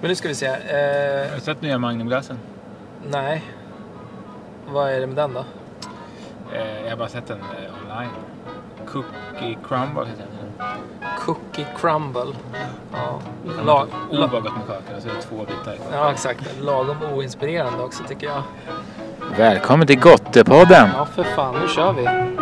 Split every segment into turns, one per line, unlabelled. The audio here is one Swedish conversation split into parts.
Men nu ska vi se. Eh,
Har du sett nya Magnumglassen?
nej. Vad är det med den då?
Eh, jag har bara sett den eh, online. Cookie Crumble heter den.
Cookie crumble. Ja,
Den
la,
var
la,
Obakat med kakor och så är det två bitar kvar.
ja exakt. Lagom oinspirerande också tycker jag.
Välkommen till Gottepodden!
Ja, för fan. Nu kör vi.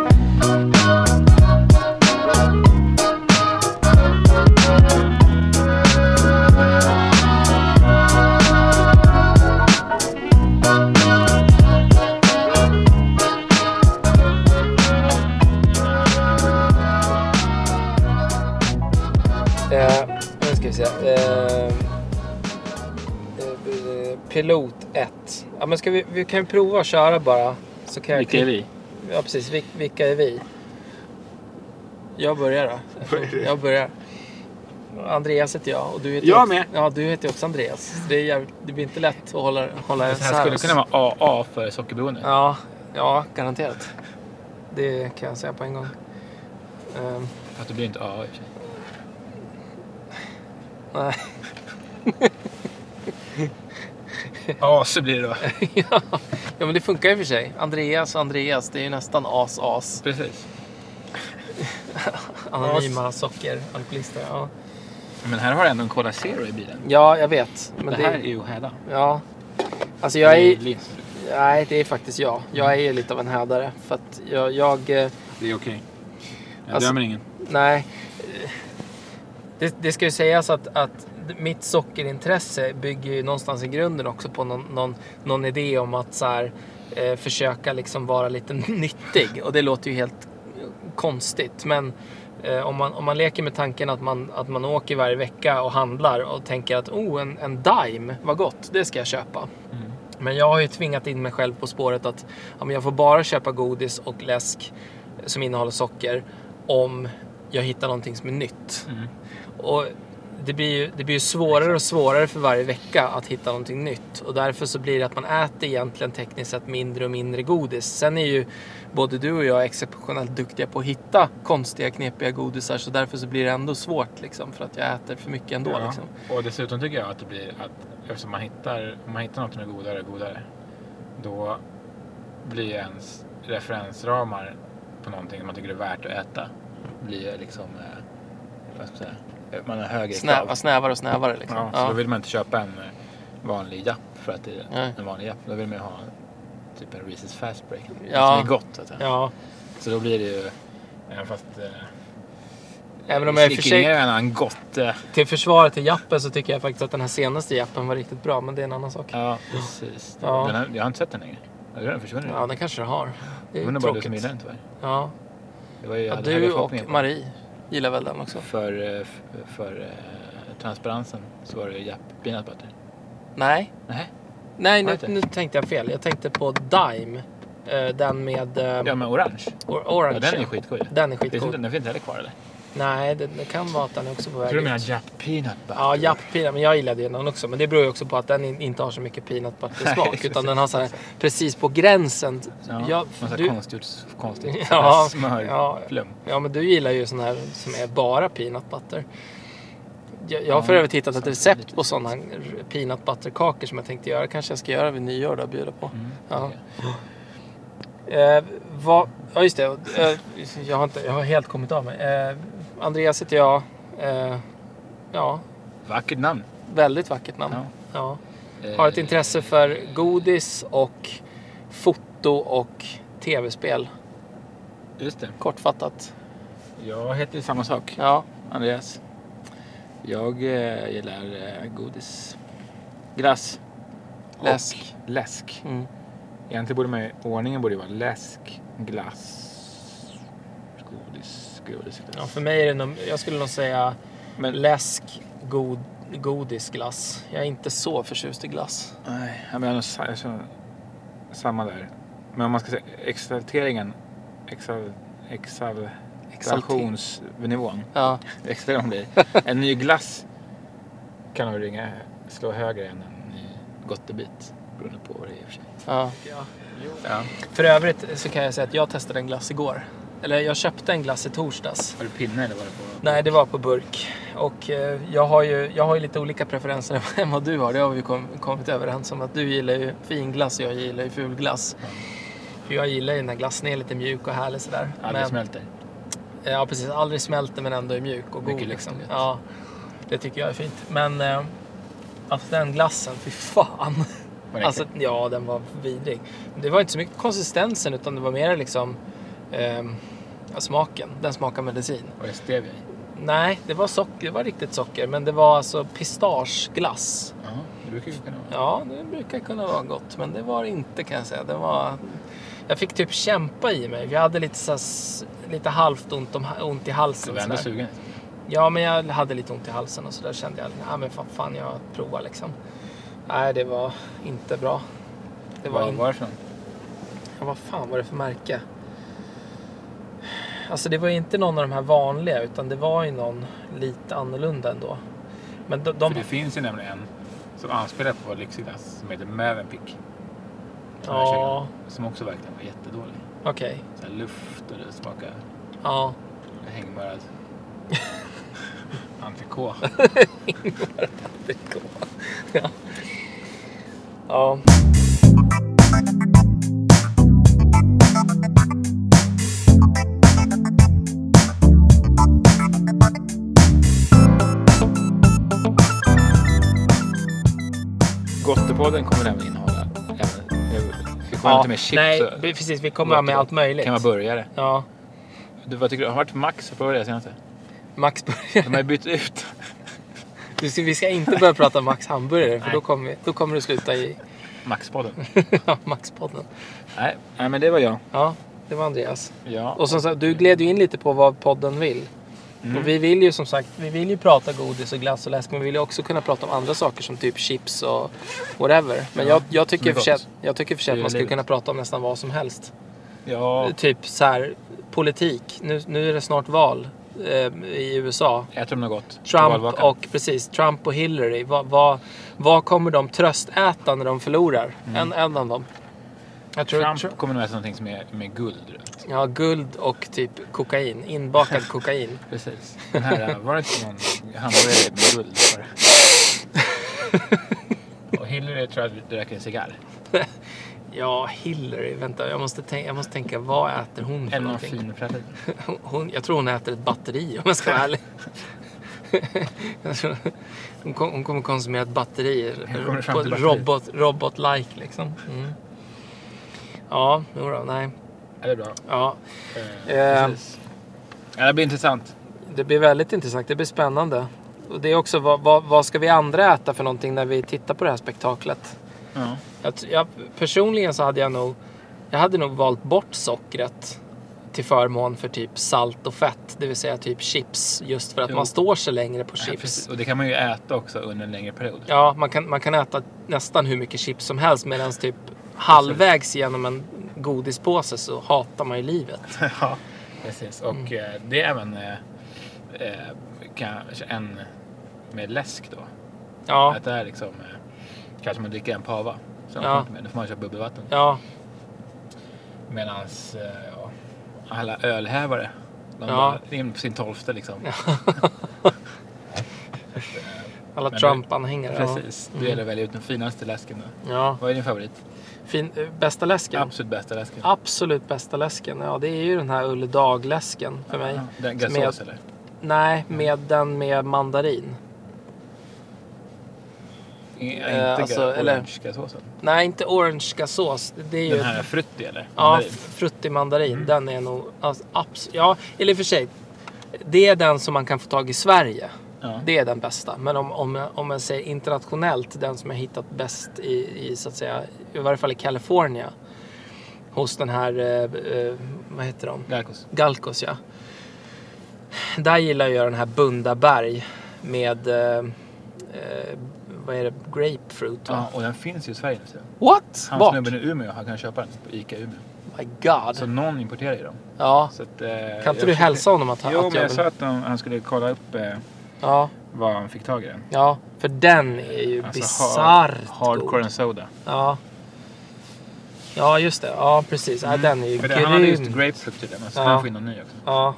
Eh, nu ska vi se. Eh, eh, pilot 1. Ja, men ska vi, vi kan ju prova att köra bara. Så kan jag
Vilka är
klippa-
vi?
Ja, precis. Vil- vilka är vi? Jag börjar då. Jag börjar. Andreas heter jag och du heter
Jag
också,
med.
Ja, du heter också Andreas. Så Det, är jävligt, det blir inte lätt att hålla, hålla
Det här skulle kunna vara AA för sockerberoende.
Ja, ja, garanterat. Det kan jag säga på en gång. Ehm,
Fast det blir inte AA i och för sig.
nej.
AC blir det då.
ja, men det funkar ju för sig. Andreas och Andreas, det är ju nästan as-as.
Precis.
Anonyma sockeralkoholister. Ja.
Men här har du ändå en Cola Zero i bilen.
ja, jag vet. Men
det, här är ju Hedda.
Ja. Alltså jag är...
Lins.
Nej, det är faktiskt jag. Jag är ju lite av en hädare. För att jag... jag eh,
Det är okej. Jag
Alltså-
dömer ingen.
nej. Eh, Det, det ska ju sägas att, att mitt sockerintresse bygger ju någonstans i grunden också på någon, någon, någon idé om att så här, eh, försöka liksom vara lite nyttig. Och det låter ju helt konstigt. Men eh, om, man, om man leker med tanken att man, att man åker varje vecka och handlar och tänker att oh, en, en dime, vad gott, det ska jag köpa. Men jag har ju tvingat in mig själv på spåret att ja, men jag får bara köpa godis och läsk som innehåller socker om jag hittar någonting som är nytt.
Mm.
Och det blir, ju, det blir ju svårare och svårare för varje vecka att hitta någonting nytt. Och därför så blir det att man äter egentligen tekniskt sett mindre och mindre godis. Sen är ju både du och jag exceptionellt duktiga på att hitta konstiga, knepiga godisar. Så därför så blir det ändå svårt liksom. För att jag äter för mycket ändå
Ja.
liksom.
Och dessutom tycker jag att det blir att eftersom man hittar, om man hittar något som är godare och godare, då blir ens referensramar på någonting som man tycker är värt att äta, blir liksom, eh, vad ska man säga, eh, man har högre krav.
Snä, snävare och snävare liksom.
Ja, så
Ja.
då vill man inte köpa en eh, vanlig japp för att det är
Nej.
en vanlig japp. Då vill man ju ha typ en Reese's fast break.
Ja.
Som är gott. Vet du.
ja.
Så då blir det ju, även fast eh,
Även om jag i och för
snickrar ner
sig,
en annan gott. Eh,
till försvaret till jappen så tycker jag faktiskt att den här senaste jappen var riktigt bra, men det är en annan sak. Ja,
ja, precis.
Ja.
Den har, jag har inte sett den längre. Eller Den försvunnit. Ja,
den kanske du har. Det är ju
det var bara du som
tråkigt.
gillade den tyvärr.
Ja.
Det var ju, jag
Ja,
hade höga
du och
förhoppningar på den.
Marie gillar väl den också?
För, eh, f- för eh, transparensen så var det ju japp peanut butter.
Nej,
Nej.
nej
Var
nu,
det
nu tänkte jag fel. Jag tänkte på Dime. Eh, Den med eh,
Ja men orange.
or- orange.
Ja, den är ju
ja.
skitgod ju.
Den är
Det är som-
skitcool.
Den finns inte heller kvar eller?
Nej, det, det kan vara att den är också på väg
Tror du
ut.
menar japp peanut butter?
Ja, japp-pina. Men jag gillade ju den också. Men det beror ju också på att den in- inte har så mycket peanut
Nej,
butter-smak. utan den har så här,
precis.
precis på gränsen.
Ja,
Jag-
massa
du-
konstigt, konstigt
Ja, ja.
smörflum.
Ja, men du gillar ju sån här som är bara peanut butter. Jag, jag har
Ja,
för övrigt hittat ett
sant.
recept på sådana peanut butter-kakor som jag tänkte göra. kanske jag ska göra vid nyår då och bjuda på. Ja.
okej.
Eh, vad, ja, just det. Eh, jag, har inte, jag har helt kommit av mig. Eh, Andreas heter jag. Eh, ja,
Vackert namn.
väldigt vackert namn.
Ja.
Ja.
Eh,
Har ett intresse för godis och foto och tv-spel.
Just det.
Kortfattat.
Jag heter samma sak.
Ja,
Andreas. Jag eh, gillar eh, godis. Glass.
Läsk.
Och läsk.
mm.
Egentligen borde man ju, ordningen borde ju vara läsk, glass, godis, godis, glass.
ja för mig är det nog, jag skulle nog säga
Men,
läsk, god, godisglass. Jag är inte så förtjust i glass.
nej, jag menar, sa- jag känner samma där. Men om man ska säga exalteringen, exal, exal,
Exalter-
exaltationsnivån.
Ja,
Extra om blir. En ny glass kan nog ringa, slå högre än en ny gottebit. Beroende på vad det är i och för sig.
ja.
Ja.
För övrigt så kan jag säga att jag testade en glass igår. Eller jag köpte en glass i torsdags.
Var det pinne eller var det på?
Nej, det var på burk. Och eh, jag har ju, jag har ju lite olika preferenser än vad du har. Det har vi kom, kommit överens om. Att du gillar ju finglass och jag gillar ju fulglass. För jag gillar ju när glassen är lite mjuk och härlig sådär.
Aldrig
Men-
smälter.
Eh, Ja, precis. Aldrig smälter men ändå är mjuk och god.
Mycket
Liksom.
lättillgängligt.
Ja, det tycker jag är fint. Men eh, alltså den glassen, fy fan.
Var det
Alltså, ja, den var vidrig. Det var inte så mycket konsistensen utan det var mer liksom ehm, ja, smaken. Den smakar medicin.
Och jag stevia i.
Nej, det var socker. Det var riktigt socker. Men det var alltså pistageglass.
Ja, det brukar ju kunna vara.
Ja, det brukar kunna vara gott. Men det var det inte kan jag säga. Det var... Jag fick typ kämpa i mig. Jag hade lite, så här, s- lite halvt ont, om, ont i
Så
halsen.
du är ändå
sådär.
sugen?
Ja, men jag hade lite ont i halsen och så där kände jag, nej men fan, fan jag provar liksom. Nej, det var inte bra. Det var
Vad
inte...
var det för något?
Ja, vad fan var det för märke? Alltså det var ju inte någon av de här vanliga utan det var ju någon lite annorlunda ändå. Men de... de...
För det finns ju nämligen en som anspelar på vår lyxiglass som heter Mövenpick.
Ja,
Som också verkligen var jättedålig.
okej.
Så här luft och det smakar
Ja.
hängmörad. Entrecote.
ja.
Gottepodden kommer även innehålla även, vi kommer
ja.
inte med chips.
Nej,
och-
vi- precis. Vi kommer med allt möjligt.
Kan vara burgare.
Ja.
Du, vad tycker du? Har det varit Max och provat det senaste?
Max
De har ju bytt ut.
Du ska- Vi ska inte börja prata om Max hamburgare för
Nej.
då kommer, vi- då kommer det sluta i
Maxpodden.
Max-podden.
nej, nej, men det var jag.
Ja, det var Andreas.
Ja.
Och som sagt, du gled ju in lite på vad podden vill.
Mm.
Och vi vill ju som sagt, vi vill ju prata godis och glass och läsk, men vi vill ju också kunna prata om andra saker som typ chips och whatever. Men
Ja,
jag, jag tycker i
som är
och för sig
gott.
att- jag tycker i och för sig
Det
att
är
man skulle
livet.
kunna prata om nästan vad som helst.
ja.
Typ så här, politik. Nu, nu är det snart val eh, i USA.
Äter de något gott?
Trump
Valvakan.
och, precis, Trump och Hillary. Vad, vad, vad kommer de tröstäta när de förlorar? En, en av dem. Jag tror
Mm. Trump kommer nog äta någonting som är med guld runt.
Ja, guld och typ kokain. Inbakad kokain.
Precis. Den här, eh, var det inte någon hamburgare med guld för? Och Hillary tror jag att röker en cigarr.
Ja, Hillary. Vänta, jag måste, tänka, jag måste tänka vad äter hon för
Eller någon
någonting?
fin pralin.
Hon- Hon, jag tror hon äter ett batteri om jag ska vara ärlig. Jag tror- hon, kom, hon kommer konsumera ett batteri.
Hon kommer fram
På
till
ett
batteriet.
robot, robot-like liksom. Mm. Ja, jodå, nej.
Ja, det är bra.
Ja,
Eh, precis. Ja, det blir intressant.
det blir väldigt intressant. Det blir spännande. Och det är också vad, vad, vad ska vi andra äta för någonting när vi tittar på det här spektaklet?
Ja.
Jag, t- jag, personligen så hade jag nog, jag hade nog valt bort sockret till förmån för typ salt och fett, det vill säga typ chips. Just för att
Jo.
man står sig längre på
Ja,
chips.
precis. och det kan man ju äta också under en längre period.
Ja, man kan, man kan äta nästan hur mycket chips som helst medan typ halvvägs genom en godispåse så hatar man ju livet.
Ja, precis. Och eh, det är även eh, eh, kanske en med läsk då.
Ja,
Att det är liksom eh, kanske man dricker en pava. Så
Ja.
ja. Då får man köra bubbelvatten.
ja,
Medans eh, ja, alla ölhävare. De
Ja.
bara är inne på sin tolfte liksom.
alla
Men-
Trump-anhängare. ja.
Precis. Det gäller att välja ut den finaste läsken. Då.
Ja,
Vad är din favorit?
fin, eh, bästa läsken?
Absolut bästa läsken?
Absolut bästa läsken, ja det är ju den här Ulledagläsken för mig.
Ja, Den,
Som
gasås
är-
eller?
Nej, med den med mandarin.
I-
eh,
inte
alltså,
alltså,
eller-
orange gasåsen.
Nej, inte orange gasås. Det är ju...
Den här Mm. frutti eller?
ja,
Mandarin.
fruttig mandarin. Den är nog... Alltså, abs- ja, eller i och för sig. Det är den som man kan få tag i Sverige.
Ja.
Det är den bästa. Men om, om, jag- om man säger internationellt, den som jag hittat bäst i, i så att säga, i varje fall i California. Hos den här, eh, eh, vad heter de?
Galkos.
Galkos ja. Där gillar jag den här Bundaberg med, eh, eh, vad är det, grapefruit va?
Ja, och den finns ju i Sverige nu. ser jag.
What?
Han
Vart?
snubben i Umeå, han kan köpa den på ICA i Umeå.
My God.
Så någon importerar ju dem.
Ja.
Så att, eh,
Kan inte
jag
du
försöker-
hälsa honom att,
Jo,
att
men jag
vill-
sa att de, han skulle kolla upp eh,
Ja,
vad han fick tag i den.
ja. För den är ju
Alltså,
bisarrt
hard- Hardcore
god.
and soda.
Ja. Ja, just det. Ja, precis. Ja, den är ju
Mm. För det, han hade just
grym.
grapefrukt till den, men så ska
Ja.
han få in någon ny också.
Ja.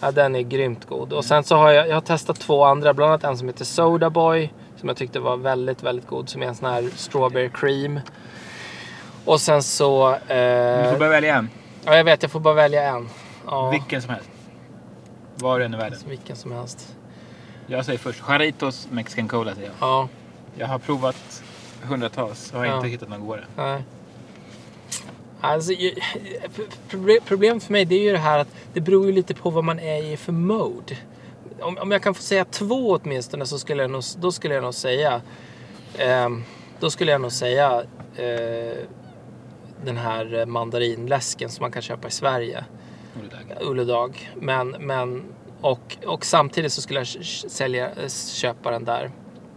Ja, den är grymt god. Och sen så har jag, jag har testat två andra, bland annat en som heter Soda Boy som jag tyckte var väldigt, väldigt god, som är en sån här strawberry cream. Och sen så...
Du
Eh,
får börja välja en.
ja, jag vet, jag får bara välja en. Ja,
Vilken som helst. Var du än i världen.
vilken som helst.
Jag säger först Charitos Mexican Cola säger jag.
Ja,
Jag har provat hundratals och har
Ja.
inte hittat någon godare.
nej. Alltså, ju- proble- problemet för mig det är ju det här att det beror ju lite på vad man är i för mode. Om, om jag kan få säga två åtminstone så skulle jag nog, då skulle jag nog säga ehm, då skulle jag nog säga eh, den här eh, mandarinläsken som man kan köpa i Sverige.
Och det där.
Ulledag. Men, men, och, och samtidigt så skulle jag s- sälja, s- köpa den där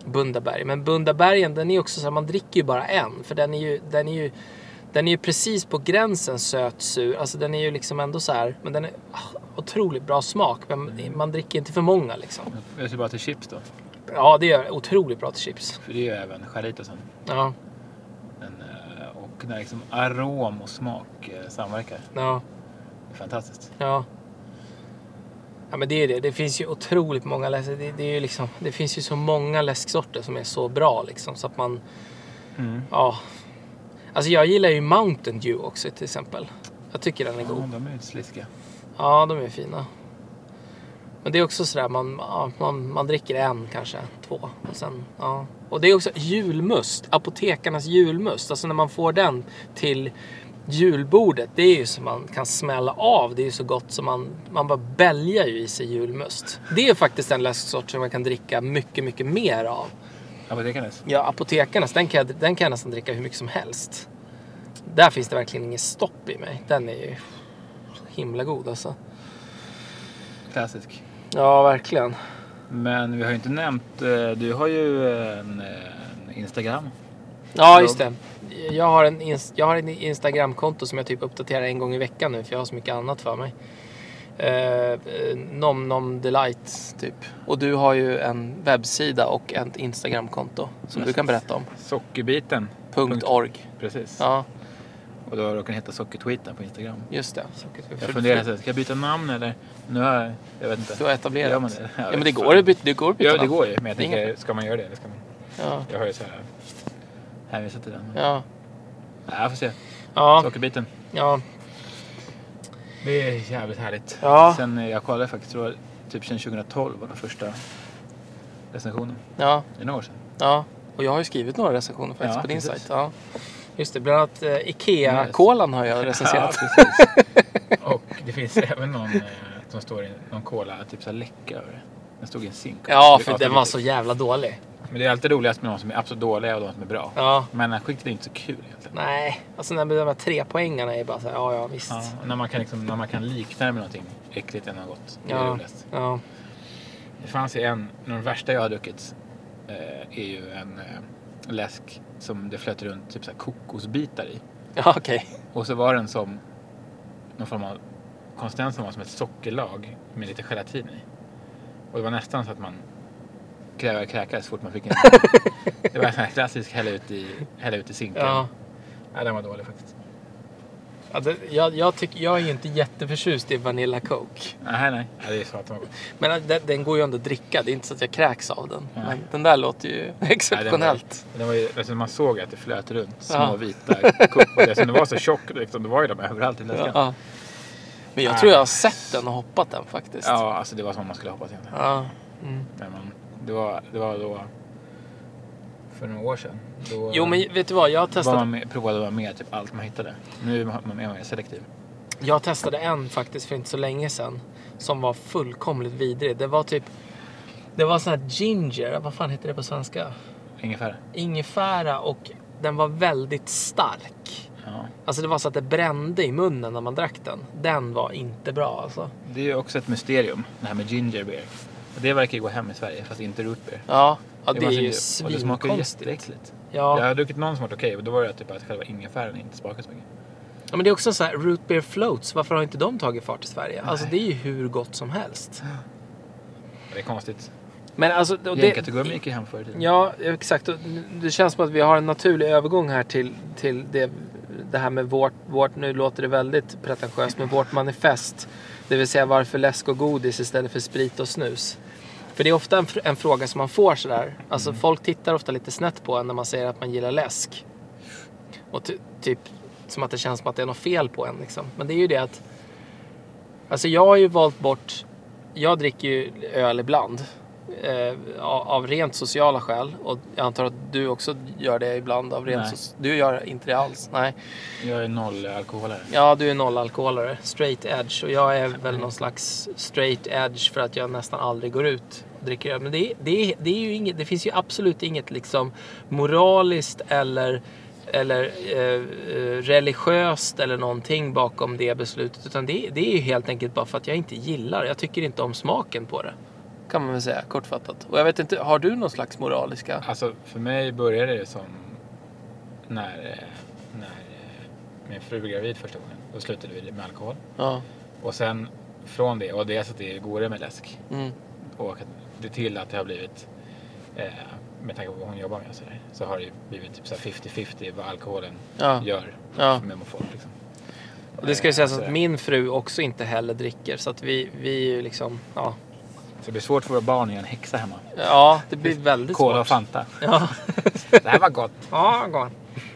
Bundaberg. Men Bundabergen den är ju också så här, man dricker ju bara en. För den är ju, den är ju, den är ju precis på gränsen söt, sur. Alltså den är ju liksom ändå så här, men den är ah, otroligt bra smak. Men man dricker inte för många liksom.
Jag ser bara till chips då.
Ja, det gör otroligt bra till chips.
För det är ju även charitosen.
Ja,
Den, eh, och när liksom arom och smak eh, samverkar.
ja.
Det är fantastiskt.
Ja. Ja men det är ju det. Det finns ju otroligt många läsk. Det, det, är ju liksom, det finns ju så många läsksorter som är så bra liksom så att man... Ja. Alltså jag gillar ju Mountain Dew också till exempel. Jag tycker den är
Ja,
god.
de är ju sliskiga.
Ja, de är fina. Men det är också sådär, man, ja, man, man dricker en kanske, två. Och, sen, ja. och det är också julmust, apotekarnas julmust. Alltså när man får den till julbordet, det är ju så man kan smälla av. Det är ju så gott som man, man bara bälgar ju i sig julmust. Det är faktiskt en läsksort som man kan dricka mycket, mycket mer av.
Apotekarnes.
Ja, apotekarnas, den kan, jag, den kan jag nästan dricka hur mycket som helst. Där finns det verkligen ingen stopp i mig. Den är ju så himla god alltså.
Klassisk.
Ja, verkligen.
Men vi har ju inte nämnt, eh, du har ju en, eh, en Instagram.
Ja, just det. Jag har, en ins- jag har en Instagramkonto som jag typ uppdaterar en gång i veckan nu för jag har så mycket annat för mig. Eh, Eh, nom nom delight typ. Och du har ju en webbsida och ett Instagramkonto som du kan berätta om.
Sockerbiten.
Punkt .org.
Precis.
Ja,
Och då råkar den heta Sockertweeten på Instagram.
just det.
Jag funderar så här, ska jag byta namn eller? Nu har jag, jag vet inte.
Du har etablerat.
Gör man det?
Ja, men
Jag vet
det
inte.
går att byta. Det går att byta
Ja, det
namn.
går ju. Men jag
Det är
tänker, ska man göra det? Eller ska man...
Ja.
Jag har ju så här hänvisat till den.
Ja.
Nej, jag får se.
Ja.
Sockerbiten.
Ja.
Det är jävligt härligt.
Ja.
Sen eh, jag kollade faktiskt, tror jag, typ sedan 2012 var den första recensionen.
Ja.
Det är några år sedan.
Ja, och jag har ju skrivit några recensioner faktiskt
Ja,
på din
precis.
sajt. Ja. Just det, bland annat eh, Ikea-kolan har jag recenserat.
Ja, precis. Och det finns även någon eh, som står i någon cola, typ så här läcker över det. Den stod i en sink.
Ja,
Det är
för den var
asroligt.
så jävla dålig.
Men det är alltid roligast med de som är absolut dåliga och de som är bra.
Ja.
Men den här skiktet är inte så kul egentligen.
Nej, alltså när med de här tre poängarna är bara så här, ja, ja, visst.
Ja, och när, man kan liksom, när man kan likna det med någonting äckligt än något gott. Det är
Ja.
roligast.
Ja.
Det fanns ju en, en av de värsta jag har druckit eh, är ju en eh, läsk som det flöt runt typ så här kokosbitar i.
Ja, okej.
Och så var den som någon form av konsistens som var som ett sockerlag med lite gelatin i. Och det var nästan så att man krävde kräkas så fort man fick en. det var en sån här klassisk hälla ut i, hälla ut i sinken.
Ja.
Ja. den var dålig faktiskt.
Ja, det, jag, jag, tycker, jag är ju inte jätteförtjust i Vanilla Coke.
Nej, nej. Ja, det är så att den var god.
Men eh, den, den går ju ändå att dricka, det är inte så att jag kräks av den.
Nej.
Men den där låter ju
Nej, den var-
exceptionellt.
Den var ju, alltså man såg att det flöt runt små
Ja.
vita kuppar. Eftersom den var så tjock, liksom, det var ju de överallt i läsken.
Ja.
Ja.
Men jag
Nej.
tror jag har sett den och hoppat den faktiskt.
alltså det var som man skulle hoppas egentligen.
Ja. Mm.
Men man, det, var, det var då för några år sedan. Då
Jo, men vet du vad? Jag har
var
testat
man med, provade man med typ allt man hittade. Nu är man är man mer selektiv.
Jag testade en faktiskt för inte så länge sedan som var fullkomligt vidrig. Det var typ det var sån här ginger, vad fan heter det på svenska?
Ingefära.
Ingefära och den var väldigt stark.
Ja.
Alltså det var så att det brände i munnen när man drack den. Den var inte bra alltså.
Det är ju också ett mysterium, det här med ginger beer. Och Det verkar ju gå hem i Sverige, fast inte root beer.
Ja, ja det, är
massa
ju
ginger. Och det smakar ju
svinkonstigt.
jätteäckligt. Jag
Ja.
har druckit någon som varit okej, och då var det typ att själva ingefäran inte smakade så mycket.
ja, men det är också så här root beer floats. Varför har inte de tagit fart i Sverige? Alltså det är ju hur gott som helst.
Det är konstigt.
Men alltså, och det,
Gängkategorin gick ju hem förr i tiden.
Ja, exakt. Och Det känns som att vi har en naturlig övergång här till, till det, det här med vårt, vårt, nu låter det väldigt pretentiöst, men vårt manifest. Det vill säga varför läsk och godis istället för sprit och snus. För det är ofta en, fr- en fråga som man får sådär. Alltså folk tittar ofta lite snett på en när man säger att man gillar läsk. Och ty, typ som att det känns som att det är något fel på en liksom. Men det är ju det att. Alltså jag har ju valt bort. Jag dricker ju öl ibland. Eh, av av rent sociala skäl. Och jag antar att du också gör det ibland av rent
Nej.
so- Du gör inte det alls? Nej.
Jag är noll alkoholare.
Ja, du är nollalkoholare. Straight edge. Och jag är väl någon slags straight edge för att jag nästan aldrig går ut och dricker öl. Men det, är- det, är- det, är ju inget, det finns ju absolut inget liksom moraliskt eller, eller eh, eh, religiöst eller någonting bakom det beslutet. Utan det, det är ju helt enkelt bara för att jag inte gillar det. Jag tycker inte om smaken på det. Kan man väl säga kortfattat. Och jag vet inte, har du någon slags moraliska?
Alltså för mig började det som när, eh, när eh, min fru blev gravid första gången. Då slutade vi med alkohol.
Ja.
Och sen från det, och dels att det är godare med läsk.
Mm.
Och att det till att det har blivit, eh, med tanke på vad hon jobbar med och sådär, så har det ju blivit typ så här 50-50 vad alkoholen
Ja.
gör
Ja.
med mot folk. Liksom.
Och det ska ju sägas
Eh,
att
så-
min fru också inte heller dricker. Så att vi, vi är ju liksom, ja.
Så det blir svårt för våra barn att göra en häxa hemma.
Ja, det blir väldigt
Cola och
svårt.
Fanta.
Ja,
Det här var gott.
ja gå.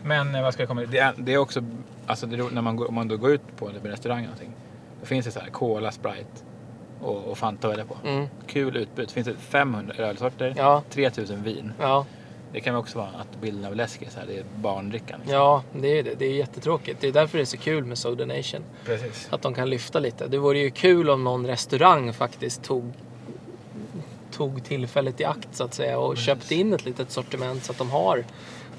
Men eh, vad ska jag komma till? Det är, det är också, alltså det är, ro- när man går, om man då går ut på en restaurang eller någonting. Då finns det så här Cola, Sprite och, och Fanta att välja på.
Mm.
Kul utbud. Finns det 500 ölsorter,
Ja.
3000 vin.
Ja,
Det kan ju också vara att bilden av läsk är så här, det är barndrickan. liksom.
ja, det är ju det. Det är jättetråkigt. Det är därför det är så kul med Soda Nation.
Precis.
Att de kan lyfta lite. Det vore ju kul om någon restaurang faktiskt tog, tog tillfället i akt så att säga och köpte in ett litet sortiment så att de har att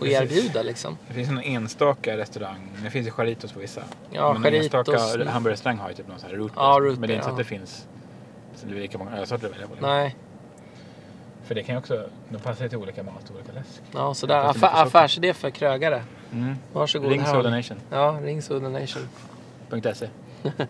Precis.
erbjuda liksom.
Det finns en enstaka restaurang, det finns ju Charitos på vissa.
Ja,
Men en
Charitos.
enstaka hamburgerrestaurang har ju typ någon sån här root.
Ja,
beer.
root
men det är inte
beer,
så att det
ja.
finns så det är lika många ölsorter att välja på. liksom.
Nej,
För det kan ju också, de passar ju till olika mat och olika läsk.
ja, sådär.
Det finns mycket
Affär,
socker.
affärsidé för krögare.
Mm.
Varsågod.
Ring
här.
sodanation.se.
Ja, ring Soda Nation.
E.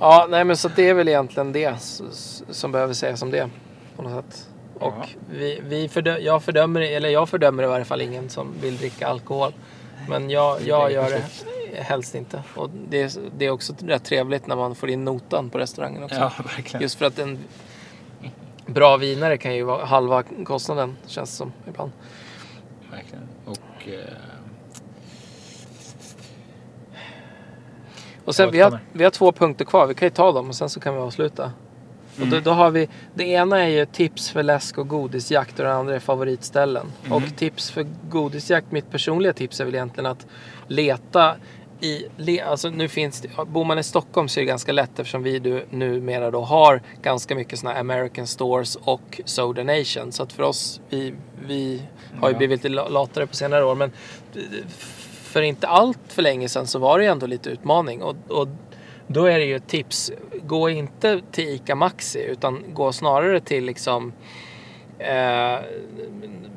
Ja, nej men så det är väl egentligen det s- s- som behöver sägas om det. På något sätt. Och
Ja.
vi, vi fördö- jag, fördömer, eller jag fördömer i varje fall ingen som vill dricka alkohol. Men jag, jag gör det helst inte. Och det, är- det är också rätt trevligt när man får in notan på restaurangen också.
Ja, verkligen.
Just för att en bra vinare kan ju vara halva kostnaden, känns det som ibland.
verkligen. Och... Eh,
Och sen,
Jag
vi, har,
återkommer.
vi har två punkter kvar. Vi kan ju ta dem och sen så kan vi avsluta. Och då, då har vi, det ena är ju tips för läsk och godisjakt och det andra är favoritställen. Och tips för godisjakt, mitt personliga tips är väl egentligen att leta i, le, alltså nu finns det, bor man i Stockholm så är det ganska lätt eftersom vi du, numera då har ganska mycket sådana American Stores och Soda Nation. Så att för oss, vi, vi har ju
Ja.
blivit lite latare på senare år men eh, för inte allt för länge sedan så var det ju ändå lite utmaning. Och, och då är det ju ett tips. Gå inte till ICA Maxi utan gå snarare till liksom eh,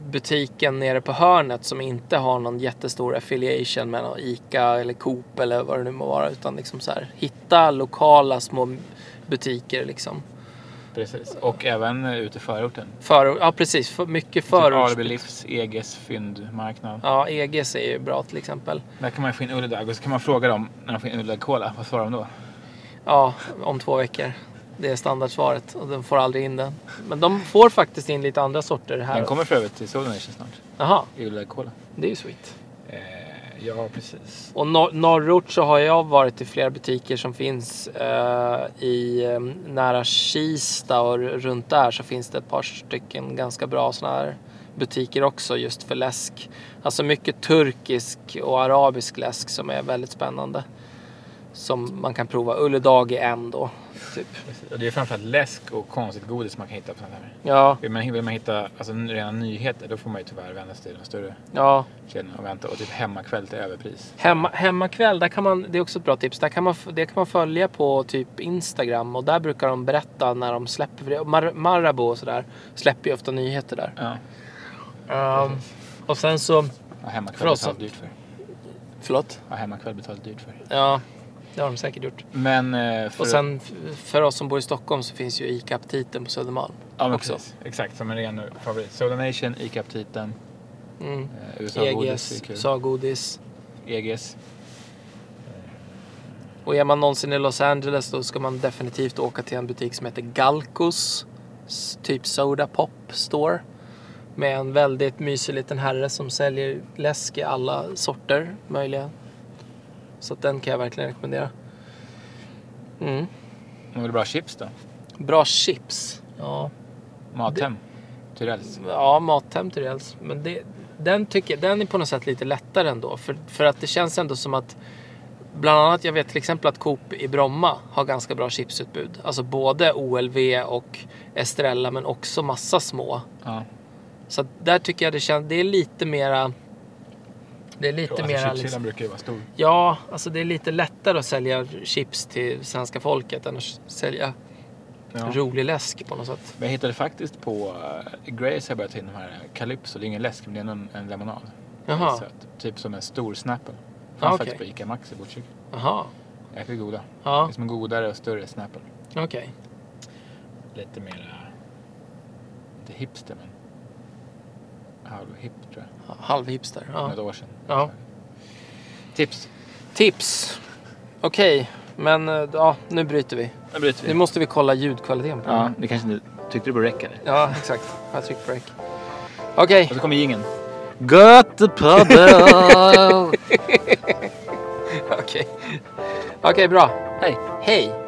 butiken nere på hörnet som inte har någon jättestor affiliation med någon ICA eller Coop eller vad det nu må vara. Utan liksom så här, hitta lokala små butiker liksom.
precis. Och även eh, ute i förorten.
För, ja precis, för, mycket
Förorts...
förorts...
Typ Livs, EGs fyndmarknad.
Ja, EGs är ju bra till exempel.
Där kan man ju få in Ulledag och så kan man fråga dem när de får in Ulledag Cola. Vad svarar de då?
Ja, om två veckor. Det är standardsvaret och de får aldrig in den. Men de får faktiskt in lite andra sorter här.
Den kommer för övrigt till Soda Nation snart.
Jaha,
Ulledag Cola.
det är ju sweet.
Eh, ja, precis.
Och nor- norrort så har jag varit i flera butiker som finns eh, i eh, nära Kista och r- runt där så finns det ett par stycken ganska bra sådana här butiker också just för läsk. Alltså mycket turkisk och arabisk läsk som är väldigt spännande. Som man kan prova. Ulledag är en då. Typ.
precis. Och det är framförallt läsk och konstigt godis man kan hitta på sånt här.
Ja,
Vill man, vill man hitta alltså, rena nyheter då får man ju tyvärr vända sig till de större
ja.
kedjorna och vänta. Och typ hemmakväll till överpris.
Hemma, hemmakväll, där kan man, det är också ett bra tips. Där kan man, f- det kan man följa på typ Instagram och där brukar de berätta när de släpper. för det- Mar, Marabou och sådär släpper ju ofta nyheter där.
Ja,
Ehm, och sen så...
och hemmakväll
För oss
betalt
som-
dyrt för.
Förlåt?
Ja, hemmakväll betalt dyrt för.
Ja, det har de säkert gjort.
Men eh, för
Och sen f- för oss som bor i Stockholm så finns ju ICA-aptiten på Södermalm
ja, men
också.
precis. Exakt, som en ren favorit. Soda Nation, ICA-aptiten,
Mm.
eh, USA Godis. E
EGS,
det är kul.
USA-godis. EGs. Och är man någonsin i Los Angeles då ska man definitivt åka till en butik som heter Galcos. s- Typ Soda Pop Store. Med en väldigt mysig liten herre som säljer läsk i alla sorter möjliga. Så att den kan jag verkligen rekommendera. Mm.
Om det är bra chips då?
Bra chips. Ja,
Mathem? Tyrells?
ja Mathem till dels. Men det, den, tycker, jag- den är på något sätt lite lättare ändå. För, för att det känns ändå som att Bland annat, jag vet till exempel att Coop i Bromma har ganska bra chipsutbud. Alltså både OLV och Estrella men också massa små.
Ja.
Så att där tycker jag det känns, det är lite mera... Det är lite
Alltså,
mera...
Chipshyllan
Liksom,
brukar ju vara stor.
ja, alltså det är lite lättare att sälja chips till svenska folket än att sälja
Ja.
rolig läsk på något sätt.
Men jag hittade faktiskt på eh, Grace har börjat ta in de här eh, Calypso. Det är ingen läsk men det är en, en lemonad.
Jaha,
Söt. Typ som en stor Snapple.
Ah,
Fanns
okej. Ah.
faktiskt på Ica Maxi Botkyrka.
jaha.
Jäkligt goda. Det
Ja,
är som en godare och större Snapple.
okej.
Lite mer... eh, Inte hipster men... Halvhipp tror jag.
Halvhipster.
För
Ja.
något år sedan.
Ah. Ja.
Tips.
Tips. Okej, men eh, ja, nu bryter vi.
Nu bryter
Nu måste vi kolla ljudkvaliteten på
Ja, det kanske inte... Tyckte du borde räcka det?
Ja, exakt. Jag tryckte break. Okej.
Och så kommer jingeln.
Okej. Okej, bra.
Hej.
Hej.